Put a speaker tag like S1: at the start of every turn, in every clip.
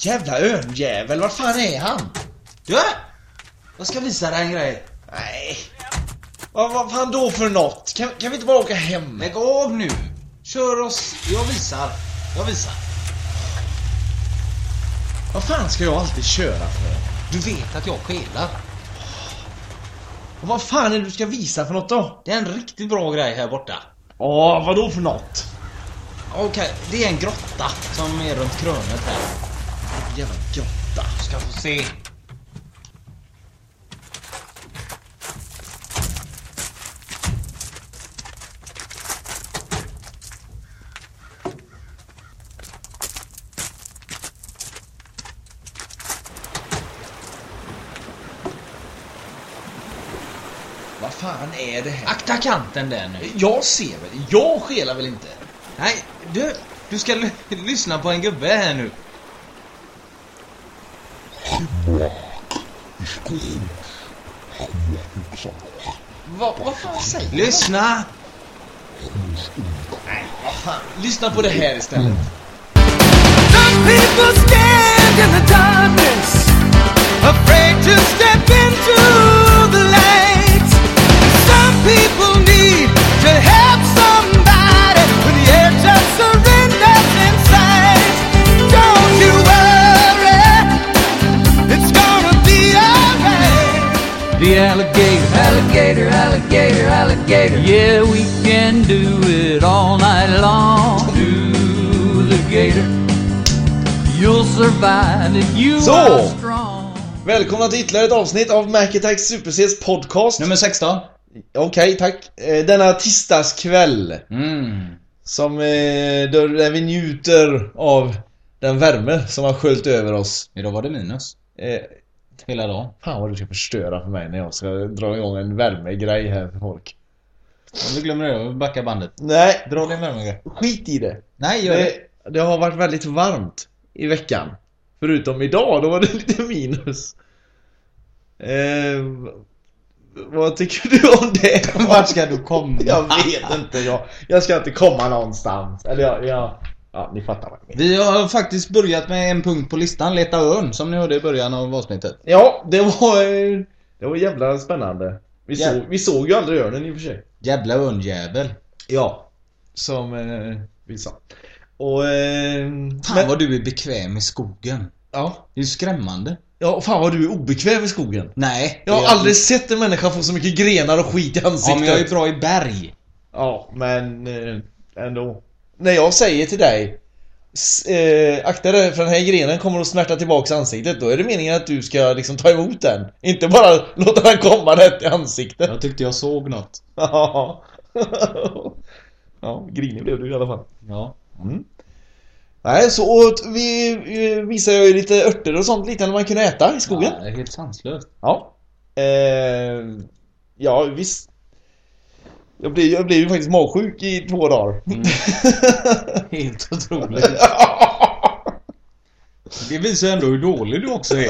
S1: Jävla örnjävel, var fan är han? Du! Jag ska visa dig en grej. Nej. Vad vad fan då för något? Kan, kan vi inte bara åka hem?
S2: Lägg av nu! Kör oss! Jag visar. Jag visar.
S1: Vad fan ska jag alltid köra för?
S2: Du vet att jag skelar.
S1: Och vad fan är det du ska visa för något då?
S2: Det är en riktigt bra grej här borta.
S1: Ja, vad då för något?
S2: Okej, det är en grotta som är runt krönet här.
S1: Jävla grotta.
S2: Du ska få se.
S1: Vad fan är det här?
S2: Akta kanten där nu.
S1: Jag ser väl, jag skelar väl inte?
S2: Nej, du, du ska l- lyssna på en gubbe här nu.
S1: Vad vad fan säger du?
S2: Lyssna!
S1: Lyssna på det här istället.
S3: People stand in the darkness, afraid to step into the light. Some people need to help somebody when the edge of surrender's in sight. Don't you worry, it's gonna be alright.
S4: The alligator,
S3: Alligator, alligator, alligator.
S4: yeah, we can do it all night long. Do the gator, you'll survive if you
S1: So.
S4: are strong.
S1: Välkomna till ytterligare ett avsnitt av Mac Attack Supersets podcast.
S2: Nummer 16.
S1: Okej, tack. Eh, Denna tisdagskväll
S2: Mm.
S1: som eh, där där vi njuter av den värme som har sköljt över oss.
S2: Idag var det minus.
S1: Eh,
S2: Hela dagen.
S1: Fan vad du ska förstöra för mig när jag ska dra igång en värmegrej här för folk.
S2: Om du glömmer det, backa bandet.
S1: Nej,
S2: Dra din värmegrej.
S1: skit i det.
S2: Nej, gör det.
S1: Det, det har varit väldigt varmt i veckan. Förutom idag, då var det lite minus. Eh, vad tycker du om det?
S2: Vart ska du komma?
S1: Jag vet inte. Jag, jag ska inte komma någonstans. Eller jag, jag... Ja, ni fattar vad jag menar.
S2: Vi har faktiskt börjat med en punkt på listan, Leta örn, som ni hörde i början av avsnittet.
S1: Ja, det var... eh, Det var jävla spännande. Vi,
S2: Ja.
S1: såg, vi såg ju aldrig örnen i och för sig.
S2: Jävla örnjävel.
S1: Ja. Som eh, vi sa. Och... Eh,
S2: Fan
S1: men-
S2: vad du är bekväm i skogen.
S1: ja.
S2: Det är ju skrämmande.
S1: ja, fan vad du är obekväm i skogen.
S2: Nej.
S1: Jag har
S2: det är-
S1: aldrig sett en människa få så mycket grenar och skit i ansiktet.
S2: Ja, men jag är bra i berg.
S1: Ja, men eh, ändå. När jag säger till dig s- eh, akta dig för den här grenen kommer att smärta tillbaks i ansiktet. Då är det meningen att du ska liksom ta emot den. Inte bara låta den komma rätt i ansiktet.
S2: Jag tyckte jag såg något.
S1: Ja, ja grinig blev du i alla fall.
S2: Ja.
S1: Nej, så och, t- vi eh, visade jag ju lite örter och sånt liknande man kunde äta i skogen.
S2: Ja, det är helt sanslöst.
S1: Ja. Eh, ja, visst. Jag blev, jag blev ju faktiskt magsjuk i två dagar.
S2: Mm. Helt otroligt. Det visar ändå hur dålig du också är.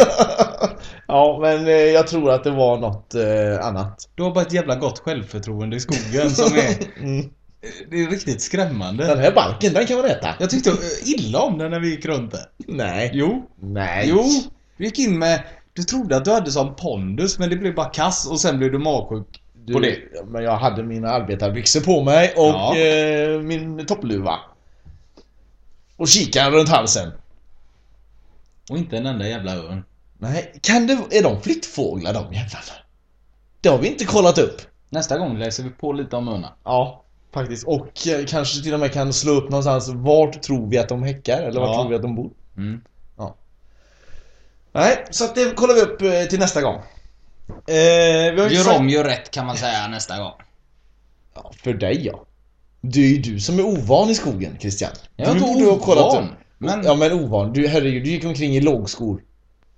S1: ja, men eh, jag tror att det var något eh, annat.
S2: Du har bara ett jävla gott självförtroende i skogen som är...
S1: Mm.
S2: Det är riktigt skrämmande.
S1: Den här balken, den kan man äta.
S2: Jag tyckte eh, illa om den när vi gick runt där.
S1: Nej.
S2: Jo.
S1: Nej.
S2: Jo. Du gick in med... Du trodde att du hade som pondus men det blev bara kass och sen blev du magsjuk
S1: Du,
S2: på det.
S1: Men jag hade mina arbetarbyxor på mig och
S2: Ja.
S1: eh, min toppluva. Och kikaren runt halsen.
S2: Och inte en enda jävla örn.
S1: Nej, kan det... Är de flyttfåglar de jävlarna? Det har vi inte kollat upp.
S2: Nästa gång läser vi på lite om örnar.
S1: Ja, faktiskt. Och eh, kanske till och med kan slå upp någonstans vart tror vi att de häckar eller vart
S2: Ja.
S1: tror vi att de bor.
S2: Mm.
S1: Nej, så att det kollar vi upp eh, till nästa gång. Eh, vi har ju sagt-
S2: Gör om, gör rätt kan man säga nästa gång.
S1: Ja, för dig ja. Det är ju du som är ovan i skogen, Christian.
S2: Jag är
S1: du
S2: inte
S1: borde ha kollat
S2: ovan,
S1: upp.
S2: men-
S1: Ja men ovan. Du, herregud, du gick omkring i lågskor.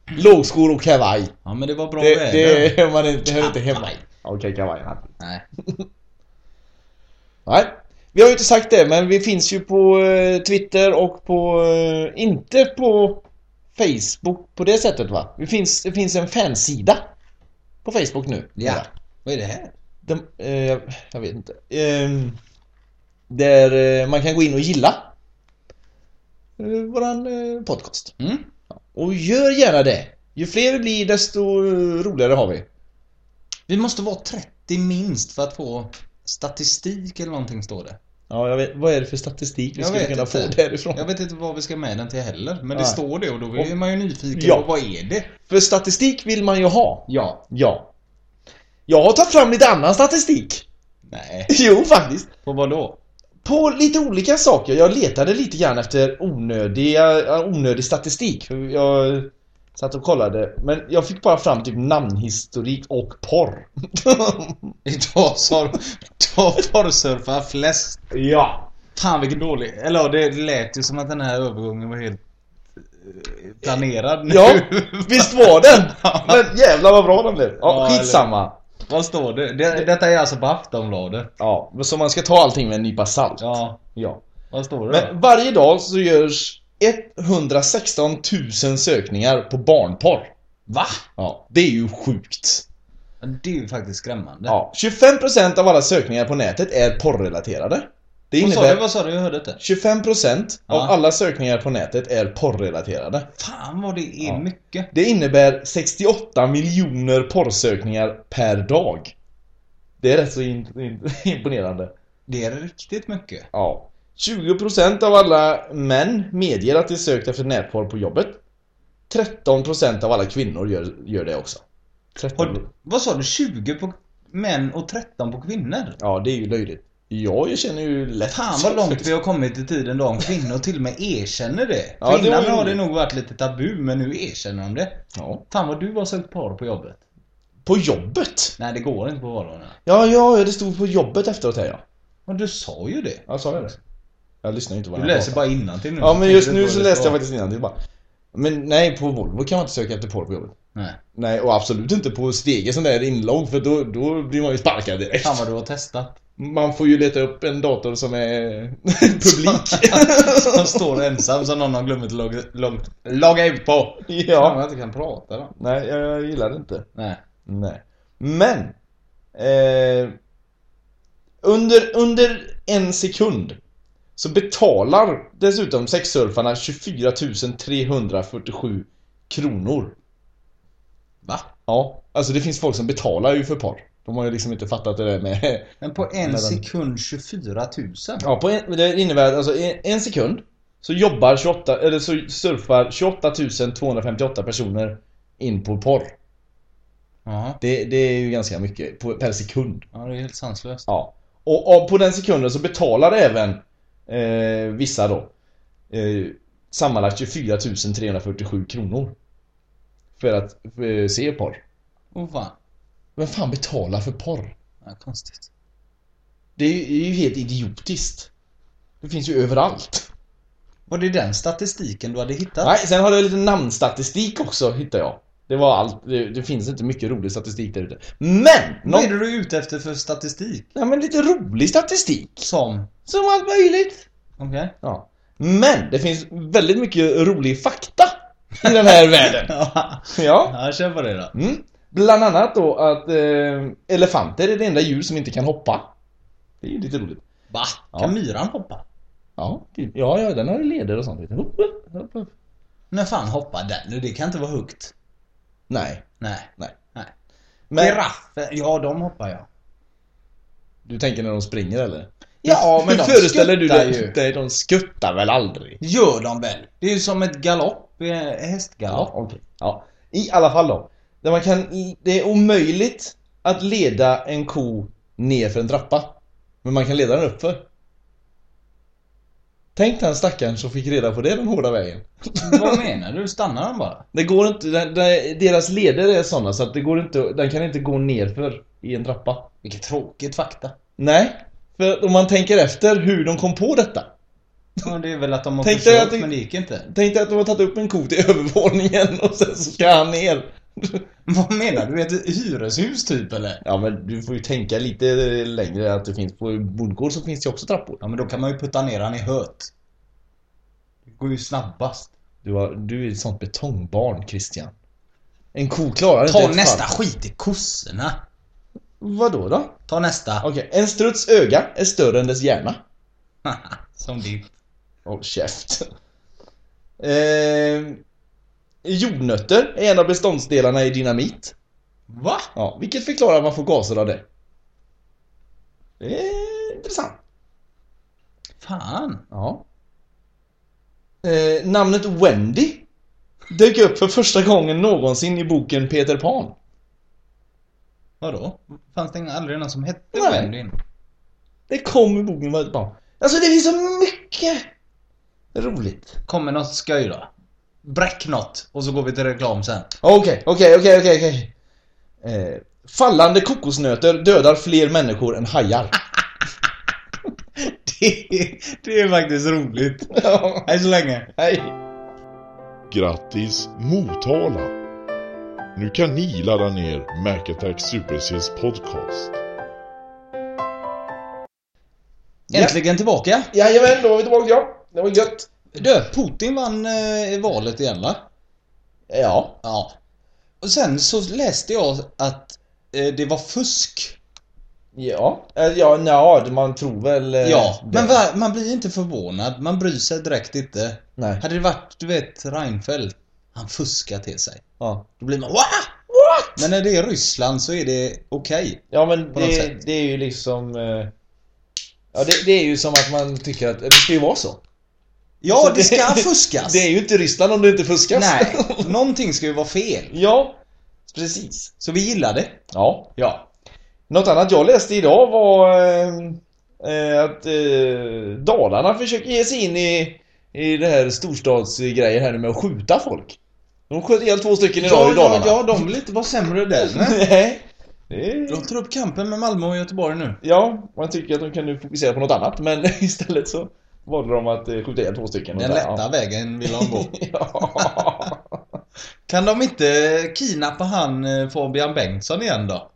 S1: Lågskor och kavaj.
S2: Ja men det var bra
S1: Det,
S2: väder.
S1: det är man inte, hör inte hemma i.
S2: Kavaj.
S1: Okej, kavaj. ja.
S2: Nej.
S1: Nej. Vi har ju inte sagt det, men vi finns ju på eh, Twitter och på... eh, Inte på Facebook på det sättet va? Vi finns, det finns en fansida på Facebook nu.
S2: Ja. Vad är det här?
S1: De, eh, jag, jag vet inte. Ehm, där eh, man kan gå in och gilla eh, våran eh, podcast.
S2: Mm.
S1: Och gör gärna det. Ju fler vi blir desto eh, roligare har vi.
S2: Vi måste vara 30 minst för att få statistik eller någonting står det.
S1: Ja, jag vet, vad är det för statistik vi
S2: Jag
S1: skulle
S2: vet
S1: kunna
S2: inte.
S1: få därifrån?
S2: Jag vet inte vad vi ska med den till heller, men det
S1: Nej.
S2: står det och då är man ju nyfiken
S1: Ja.
S2: på vad är det?
S1: För statistik vill man ju ha.
S2: Ja.
S1: Ja. Jag har tagit fram lite annan statistik.
S2: Nej.
S1: Jo, faktiskt.
S2: På vad då?
S1: På lite olika saker. Jag letade lite grann efter onödiga, onödig statistik. Jag satt och kollade. Men jag fick bara fram typ namnhistorik och porr.
S2: Idag sa idag porrsurfar flest.
S1: ja.
S2: Fan vilken dålig. Eller ja, det lät ju som att den här övergången var helt eh, planerad nu.
S1: Ja, visst var den? Men jävlar vad bra den blev.
S2: Ja,
S1: Ja, skitsamma.
S2: Vad står det? det? Detta är alltså på Aftonbladet.
S1: Ja, men så man ska ta allting med en nypa salt.
S2: Ja.
S1: ja.
S2: Vad står det
S1: Men varje dag så görs 116 000 sökningar på barnporr.
S2: Va?
S1: Ja, det är ju sjukt.
S2: Det är ju faktiskt skrämmande.
S1: Ja, 25% av alla sökningar på nätet är porrrelaterade. Det
S2: Vad sa du?
S1: innebär
S2: Vad sa du? Jag hörde inte.
S1: 25% av
S2: Ja.
S1: alla sökningar på nätet är porrrelaterade.
S2: Fan vad det är
S1: Ja.
S2: mycket.
S1: Det innebär 68 miljoner porrsökningar per dag. Det är rätt så in, in, imponerande.
S2: Det är riktigt mycket.
S1: Ja. 20% av alla män medger att de sökt efter nätporr på jobbet. 13% av alla kvinnor gör, gör det också. 13...
S2: Har, du- vad sa du? 20 på män och 13 på kvinnor?
S1: Ja, det är ju löjligt. Ja, jag känner ju lätt...
S2: Fan vad långt vi har kommit i tiden då om kvinnor till och med erkänner det.
S1: Ja, det
S2: För innan
S1: var ju-
S2: har det nog varit lite tabu men nu erkänner de det.
S1: Ja.
S2: Fan vad du har sökt par på jobbet.
S1: På jobbet?
S2: Nej det går inte på vardagarna.
S1: Ja, ja, ja, det stod på jobbet efteråt här ja.
S2: Men du sa ju det.
S1: Ja, sa jag det? Jag lyssnar ju inte vad
S2: Du
S1: han
S2: läser
S1: pratar.
S2: bara innantill nu.
S1: Ja, men just
S2: Tänkte
S1: nu
S2: på
S1: så
S2: det
S1: läste jag
S2: var.
S1: faktiskt innantill bara. Men nej, på Volvo kan man inte söka efter porr på jobbet.
S2: Nej.
S1: Nej, och absolut inte på Stege som det är inlogg för då, då blir man ju sparkad direkt.
S2: Fan vad du har testat.
S1: Man får ju leta upp en dator som är publik.
S2: Han står ensam som någon har glömt att logga, logga, logga ut på. Fan vad
S1: ja.
S2: jag inte kan prata då.
S1: Nej, jag, jag gillar det inte.
S2: Nej.
S1: Nej. Men. Eh, under, under en sekund så betalar dessutom sexsurfarna 24 347 kronor.
S2: Va?
S1: Ja, alltså det finns folk som betalar ju för porr. De har ju liksom inte fattat det där med...
S2: Men på en
S1: Men-
S2: sekund 24 000?
S1: Ja, på en, det innebär att alltså en, en sekund så jobbar 28, eller så surfar 28 258 personer in på porr.
S2: Jaha.
S1: Det, det är ju ganska mycket på, per sekund.
S2: Ja, det är helt sanslöst.
S1: Ja. Och, och på den sekunden så betalar även eh, vissa då eh, sammanlagt 24 347 kronor. För att eh, se porr.
S2: Åh fan.
S1: Vem fan betalar för porr?
S2: Ja, konstigt.
S1: Det är ju, det är ju helt idiotiskt. Det finns ju överallt.
S2: Var det den statistiken du hade hittat?
S1: Nej, sen har jag lite namnstatistik också hittar jag. Det var allt. Det, det finns inte mycket rolig statistik där ute. Men! Någon,
S2: Vad är det du är ute efter för statistik?
S1: nej, men lite rolig statistik.
S2: Som?
S1: Som allt möjligt.
S2: Okej.
S1: Ja. Men det finns väldigt mycket rolig fakta i den här världen.
S2: Ja,
S1: Ja.
S2: jag kör på det då.
S1: Mm. Bland annat då att eh, elefanter är det enda djur som inte kan hoppa. Det är ju lite roligt.
S2: Va?
S1: Ja.
S2: Kan myran hoppa?
S1: Ja, typ. ja, ja den har ju leder och sånt. vet du. Hopp, hopp, hopp, hopp.
S2: När fan hoppar den? nu? Det kan inte vara högt.
S1: Nej.
S2: Nej.
S1: Nej.
S2: Nej.
S1: Men
S2: Giraffer, ja de hoppar ja.
S1: du tänker när de springer eller?
S2: Ja, men de
S1: föreställer du
S2: skuttar
S1: dig?
S2: ju.
S1: Nej, de skuttar väl aldrig?
S2: Gör de väl? Det är ju som ett galopp, eh,
S1: Ja,
S2: hästgalopp.
S1: okej. Ja. I alla fall då. Där man kan, det är omöjligt att leda en ko ner för en trappa. Men man kan leda den uppför. Tänk den stackaren som fick reda på det den hårda vägen.
S2: Vad menar du? Stannar de bara?
S1: Det går inte, den, den, deras leder är sådana så att det går inte, den kan inte gå nerför i en trappa.
S2: Vilket tråkigt fakta.
S1: Nej, för om man tänker efter hur de kom på detta.
S2: Ja, det är väl att de har
S1: Tänk dig
S2: försökt
S1: att det-
S2: men det gick inte.
S1: Tänk dig att de har tagit upp en ko till övervåningen och sen så ska han ner.
S2: Vad menar du? Ett hyreshus typ eller?
S1: Ja men du får ju tänka lite längre att det finns på bondgård så finns det ju också trappor.
S2: Ja men då kan man ju putta ner han i höet. Det går ju snabbast.
S1: Du, har, du är ett sånt betongbarn Christian. En ko klarar
S2: Ta
S1: inte ett
S2: nästa
S1: fall.
S2: skit i kossorna.
S1: Vadå då?
S2: Ta nästa.
S1: Okej, en struts öga är större än dess hjärna.
S2: Som ditt.
S1: Håll käft. Eh, Jordnötter är en av beståndsdelarna i dynamit.
S2: Va?
S1: Ja, vilket förklarar att man får gaser av det. Det är intressant.
S2: Fan.
S1: Ja. Eh, namnet Wendy dök upp för första gången någonsin i boken Peter Pan.
S2: Vadå? Fanns det aldrig någon som hette
S1: Nej.
S2: Wendy innan?
S1: Det kom i boken Peter Pan. Alltså det finns så mycket roligt.
S2: Kommer något skoj då? Bräck något och så går vi till reklam sen.
S1: Okej, okej, okej, okej, okej. Eh, Fallande kokosnötter dödar fler människor än hajar.
S2: Det, det är faktiskt roligt.
S1: Ja,
S2: Hej så länge.
S1: Hej.
S5: Grattis Motala! Nu kan ni ladda ner Mac Attack Super Series podcast.
S2: Äntligen tillbaka.
S1: Jajamän, då var vi tillbaka ja. Det var gött.
S2: Du, Putin vann eh, valet igen va?
S1: Ja.
S2: Ja. Och sen så läste jag att eh, det var fusk.
S1: Ja. Eh, Ja, nja, man tror väl... eh,
S2: Ja,
S1: det.
S2: men va, man blir inte förvånad. Man bryr sig direkt inte.
S1: Nej.
S2: Hade det varit, du vet, Reinfeldt. Han fuskar till sig.
S1: Ja.
S2: Då blir man Wah!
S1: What?
S2: Men när det är Ryssland så är det okej.
S1: Ja men
S2: På något
S1: det,
S2: sätt.
S1: det är ju liksom... eh, Ja det, det är ju som att man tycker att eh, det ska ju vara så.
S2: Ja,
S1: Så
S2: det ska fuskas!
S1: Det är ju inte Ryssland om det inte fuskas.
S2: Nej, någonting ska ju vara fel.
S1: ja, precis.
S2: Så vi gillar det.
S1: Ja.
S2: Ja.
S1: Något annat jag läste idag var eh, eh, att eh, Dalarna försöker ge sig in i, i det här storstadsgrejen här nu med att skjuta folk. De sköt ihjäl två stycken idag i Dalarna.
S2: ja, de vill inte vara sämre där. Nej.
S1: Nej. Det är-
S2: De tar upp kampen med Malmö och Göteborg nu.
S1: Ja, man tycker att de kan nu fokusera på något annat men istället så valde de att eh, skjuta ihjäl två stycken.
S2: Den
S1: Och där,
S2: lätta
S1: ja.
S2: vägen vill de gå.
S1: ja.
S2: Kan de inte kidnappa han eh, Fabian Bengtsson igen då?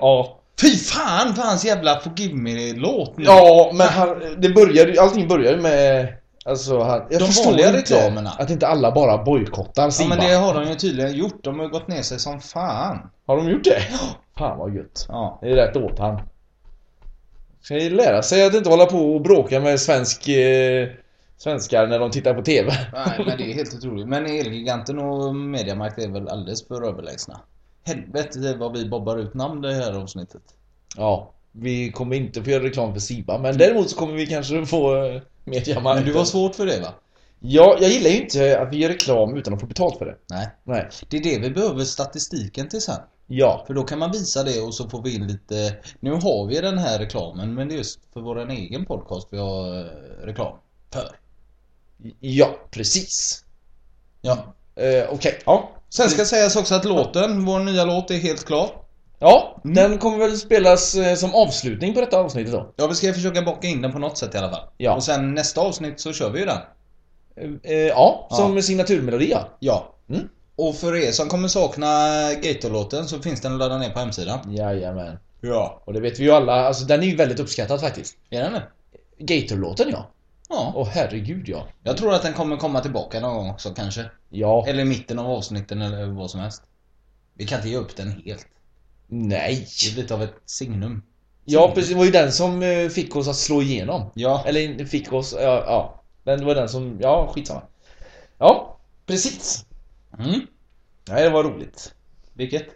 S1: ja.
S2: Fy fan för hans jävla Forgive Me-låt nu.
S1: Ja, men han, det började, ju- allting började med... Alltså, han, jag
S2: De
S1: förstår
S2: vanliga
S1: inte
S2: reklamerna.
S1: Att inte alla bara bojkottar
S2: ja,
S1: Simba.
S2: men det har de ju tydligen gjort. De har ju gått ner sig som fan.
S1: Har de gjort det? Fan vad gött.
S2: Ja.
S1: Det är rätt åt han. Ska ju lära sig att inte hålla på och bråka med svensk, eh, svenskar när de tittar på TV.
S2: Nej, men det är helt otroligt. Men Elgiganten och Mediamarkt är väl alldeles för överlägsna. Helvete vad vi bobbar ut namn det här avsnittet.
S1: Ja, vi kommer inte få göra reklam för Simba, men däremot så kommer vi kanske få eh,
S2: Men
S1: mediamarknaden.
S2: du var svårt för det va?
S1: Ja, jag gillar ju inte att vi gör reklam utan att få betalt för det.
S2: Nej.
S1: Nej.
S2: Det är det vi behöver statistiken till sen.
S1: Ja.
S2: För då kan man visa det och så får vi in lite... Nu har vi den här reklamen men det är just för vår egen podcast vi har eh, reklam för.
S1: Ja, precis.
S2: Ja.
S1: Eh, Okej, ja.
S2: Sen ska sägas också att låten, vår nya låt, är helt klar.
S1: Ja, den kommer väl spelas eh, som avslutning på detta avsnittet då.
S2: Ja, vi ska försöka bocka in den på något sätt i alla fall.
S1: Ja.
S2: Och sen nästa avsnitt så kör vi ju den.
S1: Eh, eh, Ja,
S2: Ja.
S1: som signaturmelodi ja.
S2: Ja.
S1: Mm.
S2: Och för er som kommer sakna Gator-låten så finns den att ladda ner på hemsidan.
S1: Jajamän.
S2: Ja.
S1: Och det vet vi ju alla, alltså den är ju väldigt uppskattad faktiskt.
S2: Är den det?
S1: Gator-låten ja.
S2: Ja.
S1: Åh herregud ja.
S2: Jag tror att den kommer komma tillbaka någon gång också kanske.
S1: Ja.
S2: Eller i mitten av avsnitten eller vad som helst. Vi kan inte ge upp den helt.
S1: Nej.
S2: Det blir lite av ett signum.
S1: Ja precis, det var ju den som eh, fick oss att slå igenom.
S2: Ja.
S1: Eller inte fick oss, ja. ja. Men det var den som, ja skitsamma. Ja, precis.
S2: Mm.
S1: Nej det var roligt.
S2: Vilket?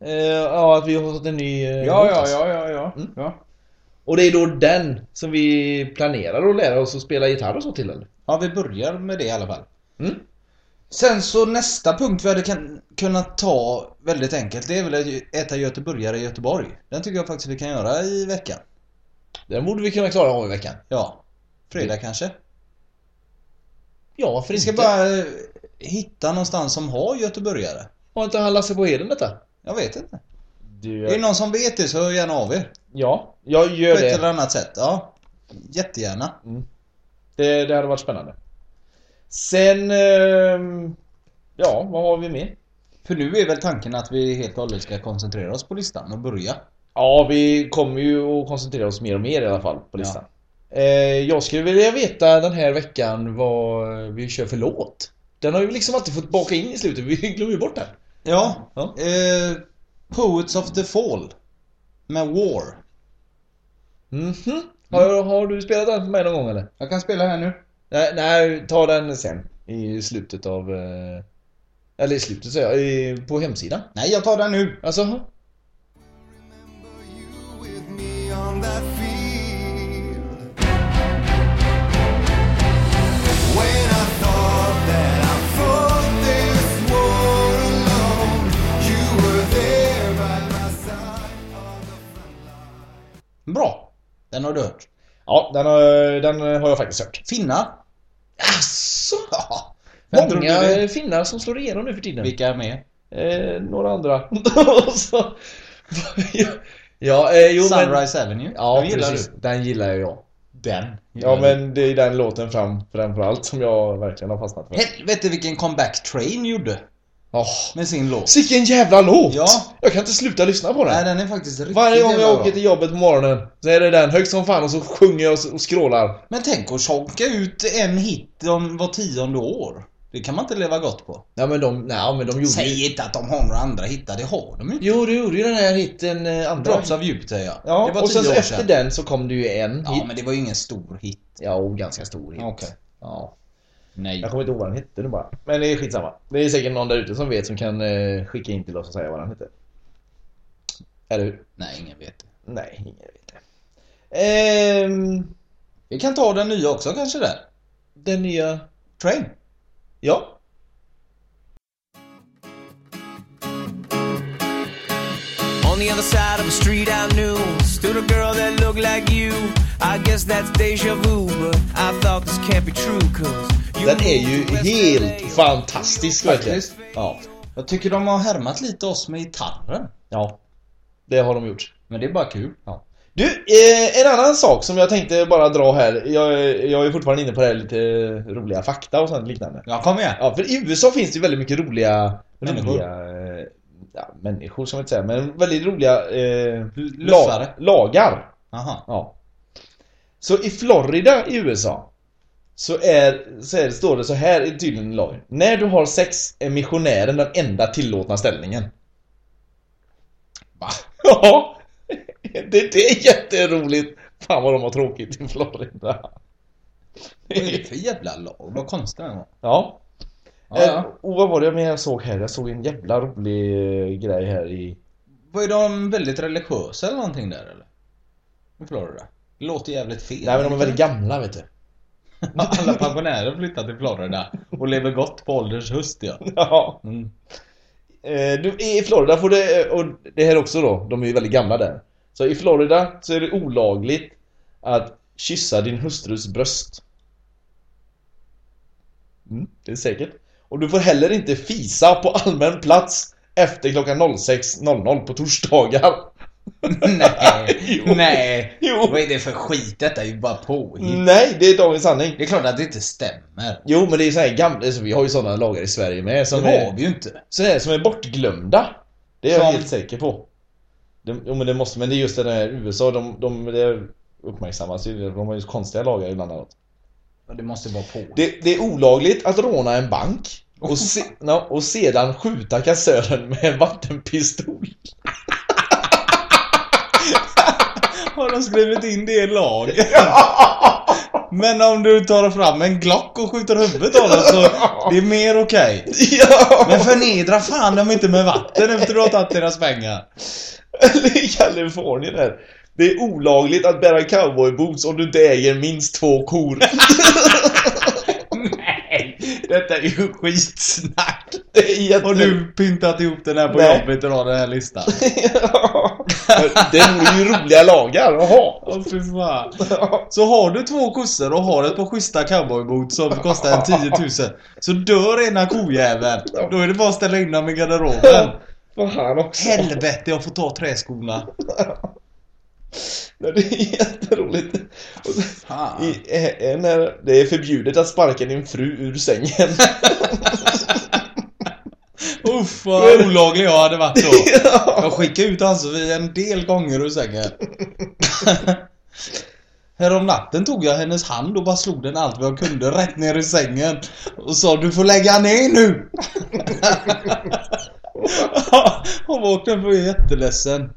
S1: Eh, ja, att vi har fått en ny eh, låt, alltså.
S2: ja, ja. ja.
S1: Och det är då den som vi planerar att lära oss att spela gitarr och så till eller?
S2: Ja, vi börjar med det i alla fall.
S1: Mm.
S2: Sen så nästa punkt vi hade kan, kunnat ta väldigt enkelt, det är väl att ju- äta göteborgare i Göteborg. Den tycker jag faktiskt vi kan göra i veckan.
S1: Den borde vi kunna klara av i veckan.
S2: Ja. Fredag kanske.
S1: Ja, varför
S2: Vi ska
S1: inte?
S2: bara eh, hitta någonstans som har göteborgare.
S1: Har inte han Lasse på Heden detta?
S2: Jag vet inte.
S1: Du,
S2: Är det någon som vet det så hör gärna av er.
S1: Ja, jag
S2: På
S1: gör
S2: ett eller
S1: det.
S2: annat sätt. Ja. Jättegärna.
S1: det. Det hade varit spännande. Sen... ehm, Ja, vad har vi mer?
S2: För nu är väl tanken att vi helt och hållet ska koncentrera oss på listan och börja.
S1: Ja, vi kommer ju att koncentrera oss mer och mer i alla fall på listan. Eh, jag skulle vilja veta den här veckan vad vi kör för låt. Den har ju liksom alltid fått baka in i slutet, vi glömmer ju bort den.
S2: Ja.
S1: Ja.
S2: Eh, Poets of the Fall. Med War.
S1: Mhm. Har, har du spelat den för mig någon gång eller?
S2: Jag kan spela här nu.
S1: Nej, nej ta den sen. I slutet av eh, Eller i slutet säger jag, i- på hemsidan.
S2: Nej, jag tar den nu.
S1: Alltså,
S3: with me on that field. When I thought that I fought this war alone, you were there by my side on the front line.
S2: Bra. Den har du hört.
S1: ja den har, den har jag faktiskt hört.
S2: Finna.
S1: Asså?
S2: Ja. Vem trodde det?
S1: Många finnar som slår igenom nu för tiden.
S2: Vilka är med?
S1: Eh, några andra. Och så, ja, eh, jo men...
S2: Sunrise Avenue.
S1: Ja,
S2: den gillar
S1: precis.
S2: du.
S1: Den gillar ju jag. Mm.
S2: Den. gillar
S1: Ja
S2: du.
S1: men det är den låten fram, framförallt som jag verkligen har fastnat för.
S2: Helvete vilken comeback Train gjorde.
S1: Oh,
S2: Med sin låt.
S1: vilken jävla låt!
S2: Ja.
S1: Jag kan inte sluta lyssna på den.
S2: Nej, den är faktiskt riktigt
S1: Varje gång jag
S2: jävla
S1: åker
S2: bra.
S1: till jobbet på morgonen så är det den högt som fan och så sjunger jag och- och skrålar.
S2: Men tänk att chonka ut en hit om var tionde år. Det kan man inte leva gott på.
S1: Ja men de, nej, men de gjorde ju...
S2: Säg inte att de har några andra hittar, det har de ju inte.
S1: Jo, du gjorde ju den här hitten eh, andra.
S2: Drops of Jupiter ja. det
S1: Ja,
S2: var
S1: och sen
S2: tio
S1: så
S2: år
S1: efter
S2: sedan.
S1: den så kom det ju en
S2: Ja,
S1: hit.
S2: men det var ju ingen stor hit.
S1: Ja, och ganska stor hit.
S2: Okej.
S1: Ja.
S2: Nej.
S1: Jag kommer inte ihåg vad den hette nu bara. Men det är skitsamma. Det är säkert någon där ute som vet som kan eh, skicka in till oss och säga vad den hette. Eller hur?
S2: Nej, ingen vet det.
S1: Nej, ingen vet det. Ehm,
S2: Vi kan ta den nya också kanske där.
S1: den nya...
S2: Train.
S1: Ja.
S6: On the other side of the street I knew stood a girl that looked like you. I guess that's deja vu, but I thought this can't be true, cause you
S1: Den är ju
S6: moved to
S1: helt
S6: LA.
S1: fantastisk verkligen.
S2: Faktiskt.
S1: Ja.
S2: Jag tycker de har härmat lite oss med gitarren.
S1: Ja. Det har de gjort.
S2: Men det är bara kul. Ja.
S1: Du, eh, en annan sak som jag tänkte bara dra här. Jag, jag är fortfarande inne på det här lite roliga fakta och sånt liknande.
S2: Ja, kom igen.
S1: Ja, för i USA finns det ju väldigt mycket roliga
S2: Människor.
S1: Roliga, eh, ja, människor som jag inte säga, men väldigt roliga eh,
S2: luffare.
S1: lagar.
S2: Jaha.
S1: Ja. Så i Florida i USA så, är, så är, står det så här i tydligen i lagen. När du har sex är missionären den enda tillåtna ställningen.
S2: Va?
S1: Ja, det, det är jätteroligt. Fan vad de har tråkigt i Florida.
S2: Vad är det för jävla lag? Vad konstigt den var.
S1: Ja.
S2: Ja, ja.
S1: Eh, och vad var det mer jag såg här? Jag såg en jävla rolig eh, grej här i...
S2: Var är de väldigt religiösa eller någonting där eller? I Florida? Det låter jävligt fel.
S1: Nej men de är väldigt gamla vet du.
S2: Alla pensionärer flyttar till Florida och lever gott på ålderns höst ja.
S1: Ja.
S2: Mm.
S1: Eh, du, I Florida får det, eh, och det här också då, de är ju väldigt gamla där. Så i Florida så är det olagligt att kyssa din hustrus bröst. Mm, det är säkert. Och du får heller inte fisa på allmän plats efter klockan 06.00 på torsdagar.
S2: Nej,
S1: Jo.
S2: nej.
S1: Jo.
S2: Vad är det för skit? Detta är ju bara påhitt.
S1: Nej, det är dagens sanning.
S2: Det är klart att det inte stämmer.
S1: Jo, men det är så här gamla, alltså, vi har ju sådana lagar i Sverige med
S2: Det
S1: som
S2: har
S1: är,
S2: vi ju inte.
S1: så här, som är bortglömda. Det är jag
S2: Som-
S1: helt säker på. Det, jo, men det måste, men det är just det där USA, de, de det uppmärksammas ju, de har ju konstiga lagar ibland annat.
S2: Ja, Det måste vara på.
S1: Det, det är olagligt att råna en bank och, se, ja, och sedan skjuta kassören med en vattenpistol.
S2: Har de skrivit in det i lag? Men om du tar fram en Glock och skjuter huvudet av dem så det är mer okej.
S1: Ja!
S2: Men förnedra fan dem inte med vatten efter du har tagit deras pengar.
S1: Eller i Kalifornien där. Det är olagligt att bära cowboyboots om du inte äger minst två kor.
S2: Nej, detta är ju skitsnack.
S1: Det är jätte...
S2: Har du pyntat ihop den här på
S1: Nej.
S2: jobbet och har den här listan?
S1: Ja. Det vore ju roliga lagar att ha.
S2: Åh fy fan. Så har du två kossor och har ett par schyssta cowboyboots som kostar en 10 000 Så dör ena kojäveln. Då är det bara att ställa in dem i garderoben.
S1: Vad han också.
S2: Helvete jag får ta träskorna.
S1: Det är jätteroligt. Och sen-
S2: Fan.
S1: I, eh, en är, det är förbjudet att sparka din fru ur sängen.
S2: Uff vad olaglig jag hade varit då. Jag skickade ut Ann-Sofie en del gånger ur sängen. Härom natten tog jag hennes hand och bara slog den allt vad jag kunde rätt ner i sängen. Och sa du får lägga ner nu! Hon vaknade och blev jätteledsen.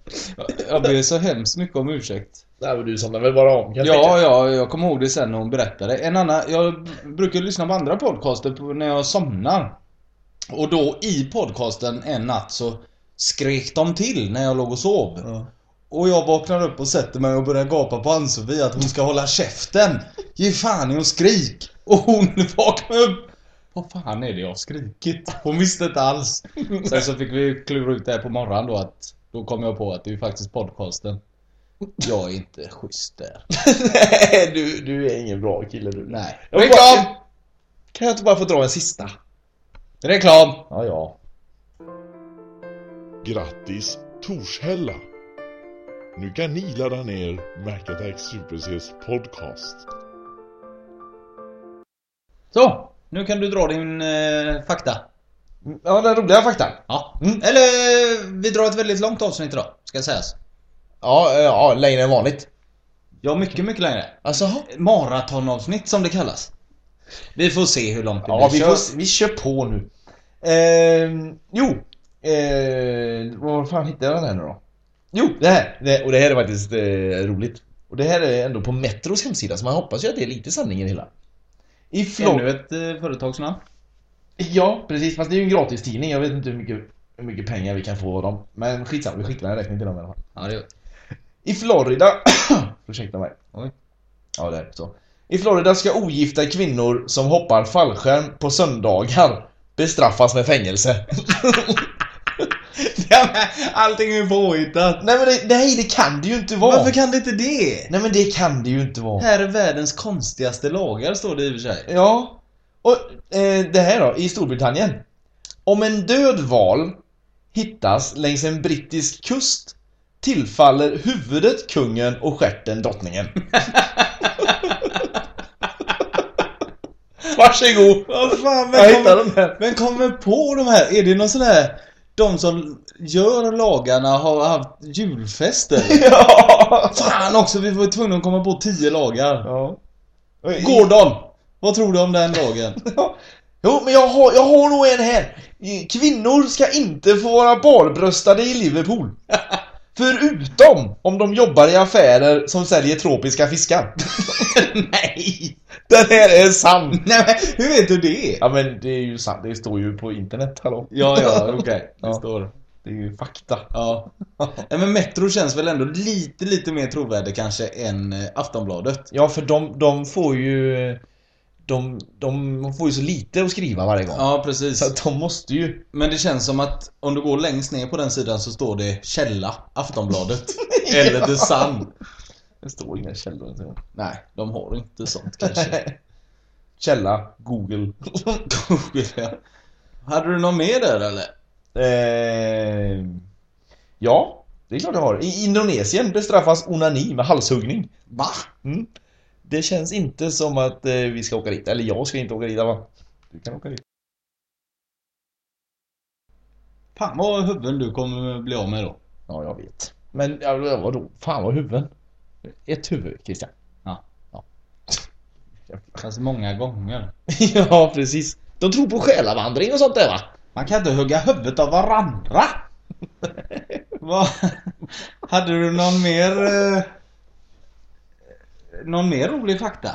S2: Jag ber så hemskt mycket om ursäkt.
S1: Nej men du somnar väl bara om kan jag
S2: Ja,
S1: tänka.
S2: ja, jag kommer ihåg det sen när hon berättade. En annan, jag brukar lyssna på andra podcaster på, när jag somnar. Och då i podcasten en natt så skrek de till när jag låg och sov.
S1: Ja.
S2: Och jag vaknar upp och sätter mig och börjar gapa på Ann-Sofie att hon ska hålla käften. Ge fan i att skrik. Och hon vaknar upp. Vad fan är det jag har skrikit? Hon visste inte alls. Sen så fick vi klura ut det här på morgonen då att då kom jag på att det är ju faktiskt podcasten. Jag är inte schysst där.
S1: Nej, du, du är ingen bra kille du.
S2: Nej.
S1: Jag vill
S2: Reklam!
S1: bara- Kan jag inte bara få dra en sista?
S2: Reklam! Ja, ja.
S5: Grattis Torshälla! Nu kan ni ladda ner MacAttack Super Cs podcast.
S2: Så! Nu kan du dra din eh, fakta.
S1: Mm, Ja, den roliga faktan.
S2: Ja.
S1: Mm.
S2: Eller vi drar ett väldigt långt avsnitt idag, ska sägas.
S1: Ja, eh, ja, längre än vanligt.
S2: Ja, mycket, mycket längre.
S1: Alltså,
S2: Maratonavsnitt som det kallas. Vi får se hur långt det
S1: ja,
S2: blir.
S1: vi,
S2: Kör-
S1: får, s- vi kör på nu. Ehm, jo. Eh, var fan hittade jag den här nu då? Jo, det här. Det, och det här är faktiskt eh, roligt. Och det här är ändå på Metros hemsida, så man hoppas ju att det är lite sanning i det hela. I Florida...
S2: Ännu ett eh, företagsnamn.
S1: Ja, precis. Fast det är ju en gratistidning. Jag vet inte hur mycket, hur mycket pengar vi kan få av dem. Men skitsamma, vi skickar en räkning till dem i alla fall.
S2: Ja, det gör
S1: I Florida... Ursäkta mig.
S2: Oj.
S1: Ja, det är så. I Florida ska ogifta kvinnor som hoppar fallskärm på söndagar bestraffas med fängelse.
S2: ja, men Allting är ju påhittat.
S1: nej men det, nej, det kan det ju inte vara!
S2: Varför kan det inte det?
S1: Nej men det kan det ju inte vara.
S2: Här är världens konstigaste lagar, står det i och för sig.
S1: Ja. Och eh, det här då, i Storbritannien. Om en död val hittas längs en brittisk kust tillfaller huvudet kungen och stjärten drottningen. Varsågod!
S2: Vad fan,
S1: Jag hittade den här.
S2: Vem kommer på de här? Är det någon sån här... De som gör lagarna har haft julfester?
S1: Ja!
S2: Fan också, vi var tvungna att komma på tio lagar.
S1: ja.
S2: Gordon! Vad tror du om den lagen?
S1: Jo, men jag har, jag har nog en här. Kvinnor ska inte få vara barbröstade i Liverpool. Förutom om de jobbar i affärer som säljer tropiska fiskar.
S2: Nej!
S1: Den här är sann!
S2: Nej men, hur vet du det?
S1: Ja men det är ju sant, det står ju på internet, hallå?
S2: Ja, ja, okej. Det
S1: Ja.
S2: står.
S1: Det är ju fakta.
S2: Ja. Nej, men Metro känns väl ändå lite, lite mer trovärdig kanske än eh, Aftonbladet.
S1: Ja för de, de får ju... De, de får ju så lite att skriva varje gång.
S2: Ja,
S1: Så
S2: precis.
S1: att de måste ju...
S2: Men det känns som att om du går längst ner på den sidan så står det Källa, Aftonbladet. Eller The Sun.
S1: Det står inga källor ens en gång.
S2: Nej, de har inte sånt kanske.
S1: Källa, Google.
S2: Google, ja. Hade du någon mer där eller?
S1: Eh, ja, det är klart jag har. I Indonesien bestraffas onani med halshuggning.
S2: Va?
S1: Mm. Det känns inte som att eh, vi ska åka dit. Eller jag ska inte åka dit, va? Du kan åka dit.
S2: Fan vad huvuden du kommer bli av med då.
S1: Ja, jag vet. Men ja, vadå? Fan vad huvuden. Ett huvud, Christian.
S2: Kanske många gånger.
S1: ja, precis. De tror på själavandring och sånt där va?
S2: Man kan inte hugga huvudet av varandra! Vad? Hade du någon mer... Eh, någon mer rolig fakta?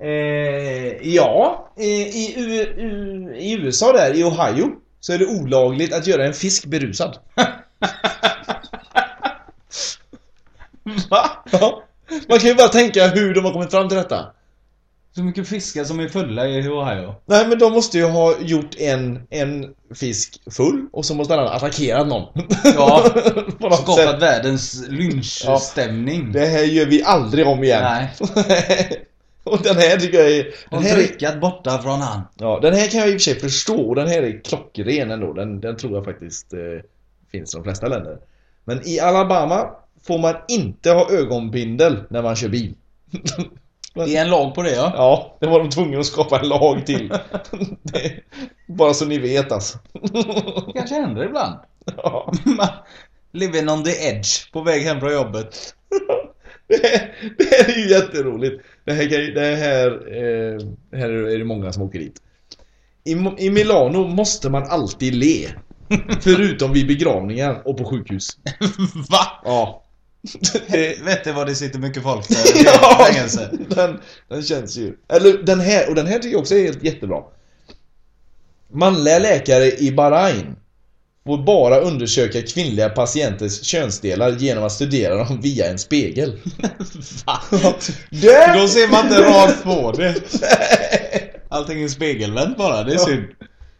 S1: Eh, ja, eh, i, U- U- i USA där, i Ohio, så är det olagligt att göra en fisk berusad.
S2: Va?
S1: Ja. Man kan ju bara tänka hur de har kommit fram till detta.
S2: Så mycket fiskar som är fulla i Ohio.
S1: Nej men de måste ju ha gjort en, en fisk full och så måste han ha attackerat någon.
S2: Ja,
S1: På något
S2: skapat
S1: sätt.
S2: världens lynchstämning.
S1: Det här gör vi aldrig om igen.
S2: Nej.
S1: och den här tycker jag är... Den
S2: Och
S1: här, är,
S2: drickat borta från han.
S1: ja, den här kan jag i och för sig förstå och den här är klockren ändå. Den, den tror jag faktiskt eh, finns i de flesta länder. Men i Alabama får man inte ha ögonbindel när man kör bil.
S2: Det är en lag på det ja.
S1: Ja, det var de tvungna att skapa en lag till. Det- Bara så ni vet alltså.
S2: Det kanske händer ibland.
S1: Ja.
S2: Man- Living on the edge på väg hem från jobbet.
S1: Det här, det här är ju jätteroligt. Det här, kan ju- det här, eh, här är det många som åker dit. I, Mo- I Milano måste man alltid le. Förutom vid begravningar och på sjukhus.
S2: Va?
S1: Ja. Det-
S2: Vet du vad det sitter mycket folk där i fängelse?
S1: Den, den känns ju... Eller den här, och den här tycker jag också är helt jättebra. Manliga läkare i Bahrain får bara undersöka kvinnliga patienters könsdelar genom att studera dem via en spegel.
S2: Va?
S1: Det-
S2: Då ser man inte rakt på det. Allting är spegelvänt bara, det är synd.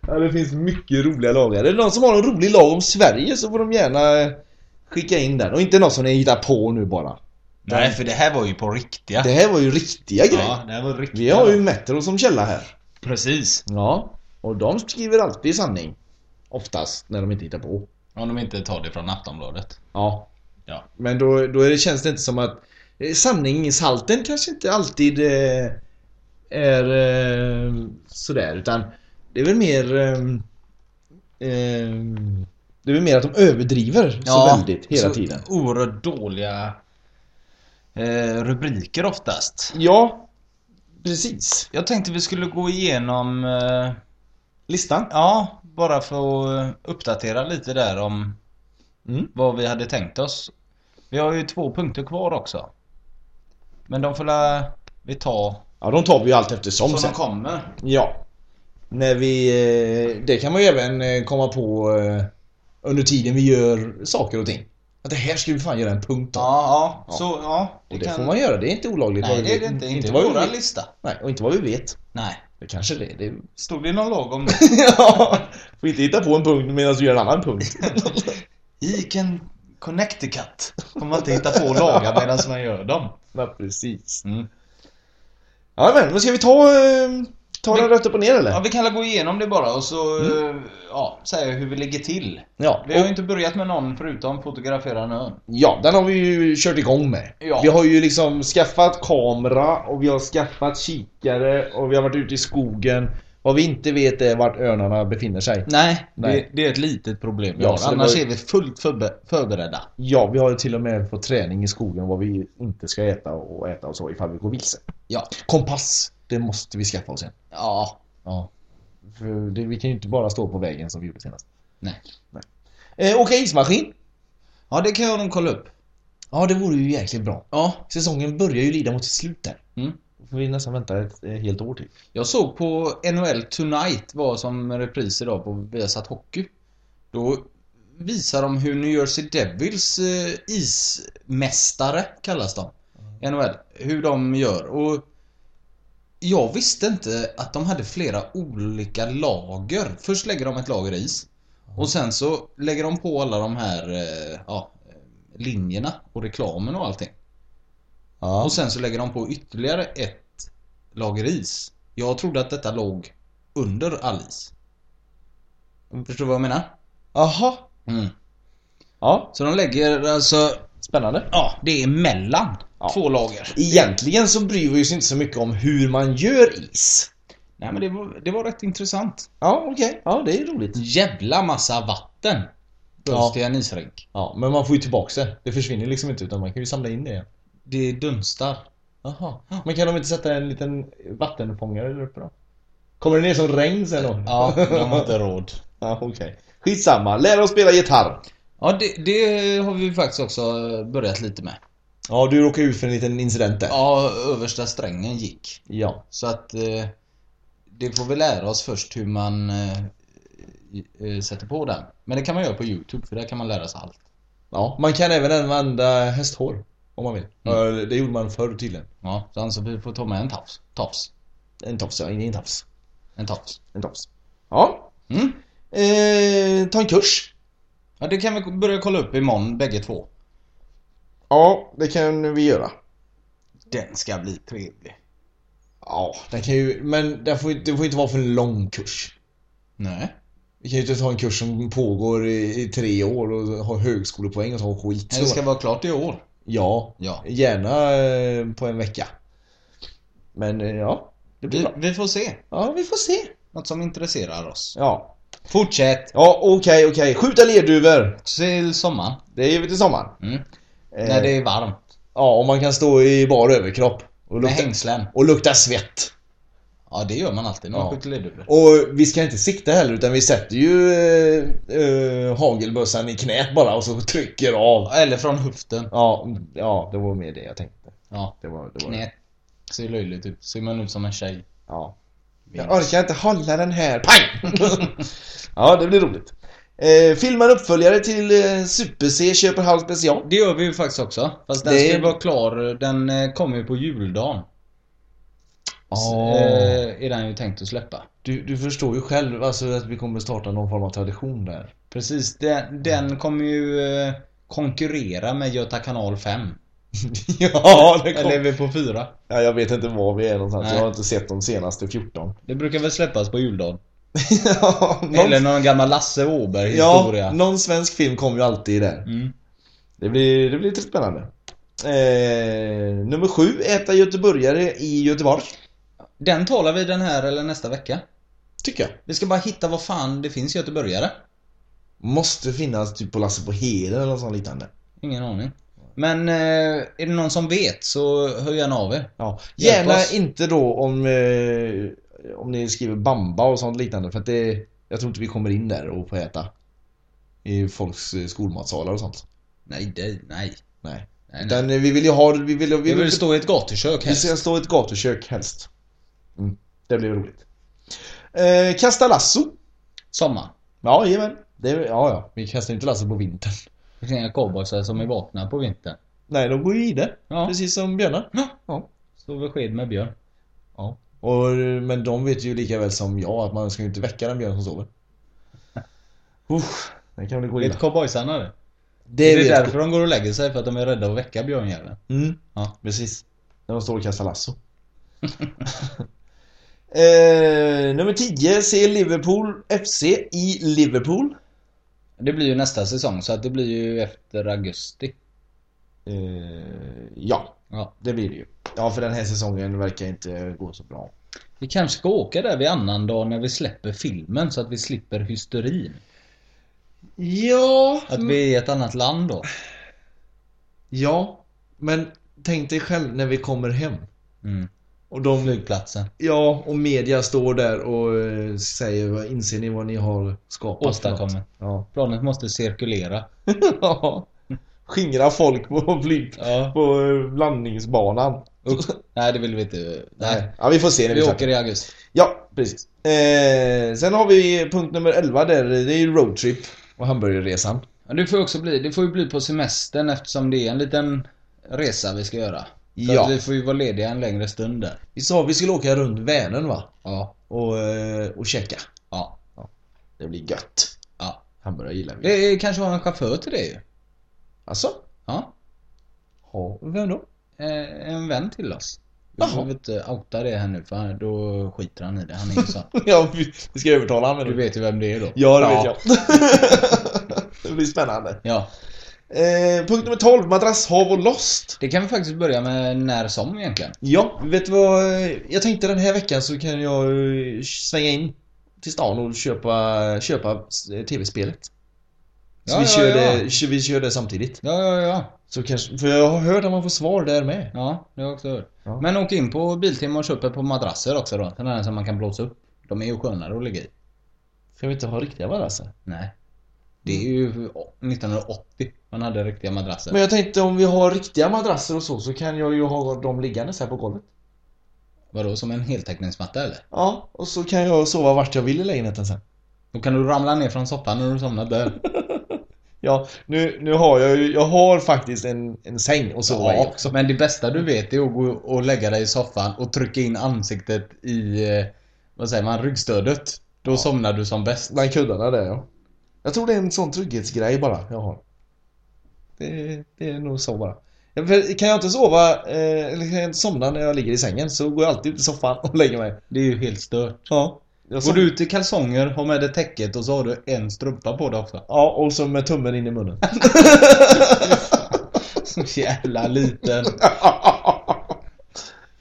S1: Ja, det finns mycket roliga lagar. Är det någon som har en rolig lag om Sverige så får de gärna eh, skicka in den. Och inte någon som ni hittar på nu bara.
S2: Nej, för det här var ju på riktiga.
S1: Det här var ju riktiga
S2: Ja,
S1: grejer.
S2: det här var riktiga.
S1: Vi har ju Metro som källa här.
S2: Precis.
S1: Ja. Och de skriver alltid sanning. Oftast, när de inte hittar på.
S2: Om de inte tar det från Aftonbladet.
S1: Ja.
S2: Ja.
S1: Men då, då är det, känns det inte som att eh, sanningshalten kanske inte alltid eh, är eh, sådär utan det är väl mer eh, eh, det är väl mer att de överdriver så väldigt hela
S2: så
S1: tiden.
S2: Oerhört dåliga eh, rubriker oftast.
S1: Ja, precis.
S2: Jag tänkte vi skulle gå igenom, eh,
S1: Listan.
S2: ja, bara för att eh, uppdatera lite där om
S1: Mm.
S2: vad vi hade tänkt oss. Vi har ju två punkter kvar också. Men de får la vi ta
S1: Ja, de tar vi ju allt eftersom
S2: som
S1: sen.
S2: de kommer.
S1: Ja. När vi, eh, det kan man ju även eh, komma på eh, under tiden vi gör saker och ting. Att det här skulle vi fan göra en punkt av.
S2: Ja, ja,
S1: Ja.
S2: så ja.
S1: Och det får man göra, det är inte olagligt
S2: Nej,
S1: vad vi
S2: det är
S1: vet.
S2: det inte. Inte,
S1: vad vi
S2: våran
S1: vet.
S2: lista.
S1: Nej, och inte vad vi vet.
S2: Nej.
S1: Det kanske det är. det är-
S2: Stod det någon lag om det?
S1: Ja, får inte hitta på en punkt medan du gör en annan punkt.
S2: I can Connecticut. Om man inte hittar på lagar medan man gör dem.
S1: Ja, precis.
S2: Mm.
S1: Ja, men vad ska vi ta? eh, Ta den rätt upp och ner
S2: Ja,
S1: eller?
S2: vi kan väl gå igenom det bara och så eh, ja, säga hur vi ligger till.
S1: Ja,
S2: Vi har ju
S1: och-
S2: inte börjat med någon förutom fotografera en ö.
S1: ja, den har vi ju kört igång med.
S2: Ja.
S1: Vi har ju liksom skaffat kamera och vi har skaffat kikare och vi har varit ute i skogen. Vad vi inte vet är vart örnarna befinner sig.
S2: Nej,
S1: Nej.
S2: Det, det är ett litet problem vi
S1: Ja, så
S2: har.
S1: det
S2: Annars
S1: var-
S2: är vi fullt förbe- förberedda.
S1: Ja, vi har ju till och med fått träning i skogen vad vi inte ska äta och äta och så ifall vi går vilse.
S2: Ja.
S1: Kompass, det måste vi skaffa oss en.
S2: Ja.
S1: Ja. För det, vi kan ju inte bara stå på vägen som vi gjorde senast.
S2: Nej.
S1: Eh, åka ismaskin.
S2: Ja, det kan jag nog kolla upp.
S1: Ja, det vore ju jäkligt bra.
S2: Ja.
S1: Säsongen börjar ju lida mot sitt slut där.
S2: Mm.
S1: Då får vi nästan vänta ett eh, helt år till.
S2: Jag såg på NHL Tonight var som repris idag på Viasat Hockey. Då visar de hur New Jersey Devils eh, ismästare kallas de. i NHL. Hur de gör. Och jag visste inte att de hade flera olika lager. Först lägger de ett lager is. Och sen så lägger de på alla de här eh, ja, linjerna och reklamen och allting. Och sen så lägger de på ytterligare ett lager is. Jag trodde att detta låg under all is. Förstår du vad jag menar?
S1: Aha.
S2: Mm.
S1: Ja,
S2: Så de lägger alltså,
S1: spännande.
S2: ja det är mellan
S1: Ja.
S2: två lager.
S1: Egentligen så bryr vi oss inte så mycket om hur man gör is.
S2: Nej men det var, det var rätt intressant.
S1: Ja, okej. Ja, det är roligt.
S2: Jävla massa vatten behövs
S1: Ja.
S2: till en isrink.
S1: Ja, men man får ju tillbaka det. Det försvinner liksom inte utan man kan ju samla in det igen.
S2: Det dunstar.
S1: Aha. Men kan de inte sätta en liten vattenfångare där uppe då? Kommer det ner som regn sen då?
S2: Ja, de har inte råd.
S1: Ja, okej. Skitsamma. Lär oss spela gitarr.
S2: Ja det, det har vi faktiskt också börjat lite med.
S1: Ja, du råkade ut för en liten incident där.
S2: Ja, översta strängen gick.
S1: Ja.
S2: Så att eh, det får vi lära oss först hur man eh, eh, sätter på den. Men det kan man göra på Youtube för där kan man lära sig allt.
S1: ja. Man kan även använda hästhår. Om man vill. Ja, Det gjorde man förr tydligen.
S2: Ja, så alltså vi får ta med en tafs. Tafs.
S1: En tofs, ja. Ingen tafs.
S2: En tafs.
S1: En tofs. Ja.
S2: Mm.
S1: Eh, ta en kurs.
S2: Ja, det kan vi börja kolla upp imorgon bägge två.
S1: Ja, det kan vi göra.
S2: Den ska bli trevlig.
S1: Ja, den kan ju... Men den får, ju- det får ju inte vara för en lång kurs.
S2: Nej.
S1: Vi kan ju inte ta en kurs som pågår i, i tre år och ha högskolepoäng och så ha skit.
S2: Nej, det ska vara klart i år.
S1: Ja,
S2: Ja.
S1: gärna eh, på en vecka. Men eh, ja, det blir
S2: Vi,
S1: bra.
S2: vi får se.
S1: Ja, vi får se.
S2: Något som intresserar oss.
S1: Ja,
S2: Fortsätt!
S1: ja okej, okej. Skjuta lerduvor.
S2: Till sommaren.
S1: Det är ju till sommaren.
S2: Mm.
S1: Eh,
S2: När det är varmt.
S1: Ja, om man kan stå i bar överkropp och
S2: Med
S1: lukta,
S2: hängslen.
S1: och lukta svett.
S2: Ja, det gör man alltid när man
S1: Ja.
S2: skjuter ledduvor.
S1: Och vi ska inte sikta heller utan vi sätter ju eh, eh, hagelbössan i knät bara och så trycker av.
S2: Eller från höften.
S1: Ja, ja, det var mer det jag tänkte.
S2: Ja.
S1: Det var, det var,
S2: Knät. Ser löjligt ut. Ser man ut som en tjej.
S1: Ja. Jag orkar inte hålla den här. Pang! ja, det blir roligt. Eh, filmar uppföljare till eh, Super-C Köpenhamn special.
S2: Det gör vi ju faktiskt också. Fast den
S1: Det-
S2: ska ju vara klar. Den eh, kommer ju på juldagen. S-
S1: Eh,
S2: eh, Är den ju tänkt att släppa.
S1: Du, du förstår ju själv alltså, att vi kommer starta någon form av tradition där.
S2: Precis. Den, den kommer ju eh, konkurrera med Göta kanal 5.
S1: ja, det
S2: Eller är
S1: kommer.
S2: vi på 4?
S1: Ja, jag vet inte var vi är någonstans.
S2: Nej.
S1: Jag har inte sett de senaste 14.
S2: Det brukar väl släppas på juldagen?
S1: ja, någon...
S2: Eller någon gammal Lasse Åberg historia.
S1: ja, någon svensk film kommer ju alltid där.
S2: Mm.
S1: Det blir, det blir lite spännande. Eh, nummer sju, äta göteborgare i Göteborg.
S2: Den talar vi den här eller nästa vecka.
S1: Tycker jag.
S2: Vi ska bara hitta vad fan det finns göteborgare.
S1: Måste finnas typ på Lasse på Heden eller något sånt liknande.
S2: Ingen aning. Men eh, är det någon som vet så hör gärna av er.
S1: Ja.
S2: Hjälp
S1: Gärna
S2: oss.
S1: inte då om, eh, om ni skriver bamba och sånt liknande för att det, jag tror inte vi kommer in där och får äta. I folks eh, skolmatsalar och sånt.
S2: Nej, det, nej.
S1: Nej.
S2: nej, nej.
S1: Utan eh, vi vill ju ha, vi vill, vi
S2: Vi
S1: vill,
S2: vill stå i ett gatukök
S1: vi
S2: helst.
S1: ska stå i ett gatukök helst. Mm. Det blir roligt. Eh, kasta lasso.
S2: Sommar.
S1: Ja, jajamän. Det, ja, ja. Vi kastar ju inte lasso på vintern.
S2: Det finns inga cowboysar som är vakna på vintern.
S1: Nej, de går ju i det.
S2: Ja.
S1: Precis som björnar. Ja.
S2: Står vid sked med björn.
S1: Och, men de vet ju lika väl som jag att man ska ju inte väcka den björn som sover. Usch, den kan väl gå illa.
S2: Vet cowboysarna det?
S1: Det
S2: det
S1: vet
S2: är därför de går och lägger sig, för att de är rädda att väcka björnjäveln.
S1: Mm.
S2: Ja.
S1: Precis. När de står och kastar lasso. eh, nummer 10 ser Liverpool FC i Liverpool.
S2: Det blir ju nästa säsong, så att det blir ju efter augusti.
S1: Eh, ja,
S2: Ja.
S1: det blir det ju. Ja, för den här säsongen verkar inte gå så bra.
S2: Vi kanske ska åka där vid annan dag när vi släpper filmen, så att vi slipper hysterin.
S1: Ja,
S2: Att vi är i ett annat land då.
S1: ja, men tänk dig själv när vi kommer hem.
S2: Mm.
S1: Och de
S2: Flygplatsen.
S1: Ja, och media står där och eh, säger vad inser ni vad ni har skapat?
S2: Åstadkommit.
S1: Ja.
S2: Planet måste cirkulera.
S1: ja. Skingra folk på flyg...
S2: Ja.
S1: På eh, landningsbanan.
S2: Upp. Nej, det vill vi inte. Nej.
S1: Ja, vi får se när vi,
S2: Vi
S1: släpper.
S2: åker i augusti.
S1: Ja, precis. Eh, sen har vi punkt nummer 11 där. Det är ju roadtrip och hamburgerresan.
S2: Ja, Det får ju också bli, det får ju bli på semestern eftersom det är en liten resa vi ska göra. Så
S1: Ja.
S2: att vi får ju vara lediga en längre stund där.
S1: Vi sa vi skulle åka runt Vänern va?
S2: Ja.
S1: Och, eh, och checka.
S2: Ja.
S1: Det blir gött.
S2: Ja.
S1: Hamburgare gillar vi.
S2: Det är, kanske har en chaufför till det ju.
S1: Alltså?
S2: Ja.
S1: Ja, vem då?
S2: Eh, En vän till oss.
S1: Jaha.
S2: Jag får väl inte outa det här nu för då skiter han i det. Han är ju sån.
S1: ja, vi vi ska övertala honom.
S2: Du vet ju vem det är då.
S1: Ja, det vet jag. det blir spännande.
S2: Ja.
S1: Eh, punkt nummer 12, madrass, hav och lost.
S2: Det kan vi faktiskt börja med när som egentligen.
S1: Ja, vet du vad? eh, Jag tänkte den här veckan så kan jag eh, svänga in till stan och köpa, köpa eh, tv-spelet. Så
S2: Ja,
S1: vi,
S2: ja,
S1: kör
S2: ja.
S1: Det, kö- vi kör det samtidigt.
S2: Ja, ja, ja.
S1: Så kanske, för jag har hört att man får svar där med.
S2: Ja, det har jag också hört.
S1: Ja.
S2: Men åk in på Biltema och köp ett par madrasser också då. Sådana här som man kan blåsa upp. De är ju skönare att ligga i.
S1: Ska vi inte ha riktiga madrasser?
S2: Nej. Det är ju 1980 man hade riktiga madrasser.
S1: Men jag tänkte om vi har riktiga madrasser och så, så kan jag ju ha dem liggandes här på golvet.
S2: Vadå, som en heltäckningsmatta eller?
S1: Ja, och så kan jag sova vart jag vill i lägenheten sen.
S2: Då kan du ramla ner från soffan när du somnat där.
S1: Ja, nu, nu har jag ju, jag har faktiskt en, en säng och sova i
S2: ja,
S1: också.
S2: men det bästa du vet är att gå och lägga dig i soffan och trycka in ansiktet i, eh, vad säger man, ryggstödet. Då somnar du som bäst.
S1: Bland kuddarna där ja. Jag tror det är en sån trygghetsgrej bara jag har. Det, det är nog så bara. Ja, för Kan jag inte sova, eh, eller kan jag inte somna när jag ligger i sängen så går jag alltid ut i soffan och lägger mig.
S2: Det är ju helt stört.
S1: Ja. Jag
S2: Går
S1: som,
S2: du ut i kalsonger, har med dig täcket och så har du en strumpa på dig också.
S1: Ja, och så med tummen in i munnen.
S2: Så jävla liten.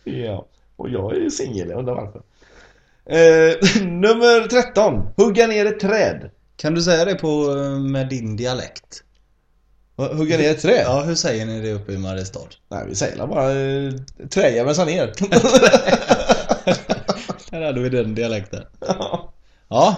S1: ja, och jag är ju singel, jag undrar varför. Eh, nummer 13. Hugga ner ett träd.
S2: Kan du säga det på, eh, med din dialekt?
S1: Va, Hugga ner ett träd?
S2: Ja, hur säger ni det uppe i Mariestad?
S1: Nej, vi säger bara eh, träjäveln ner.
S2: Där hade vi den dialekten. Ja,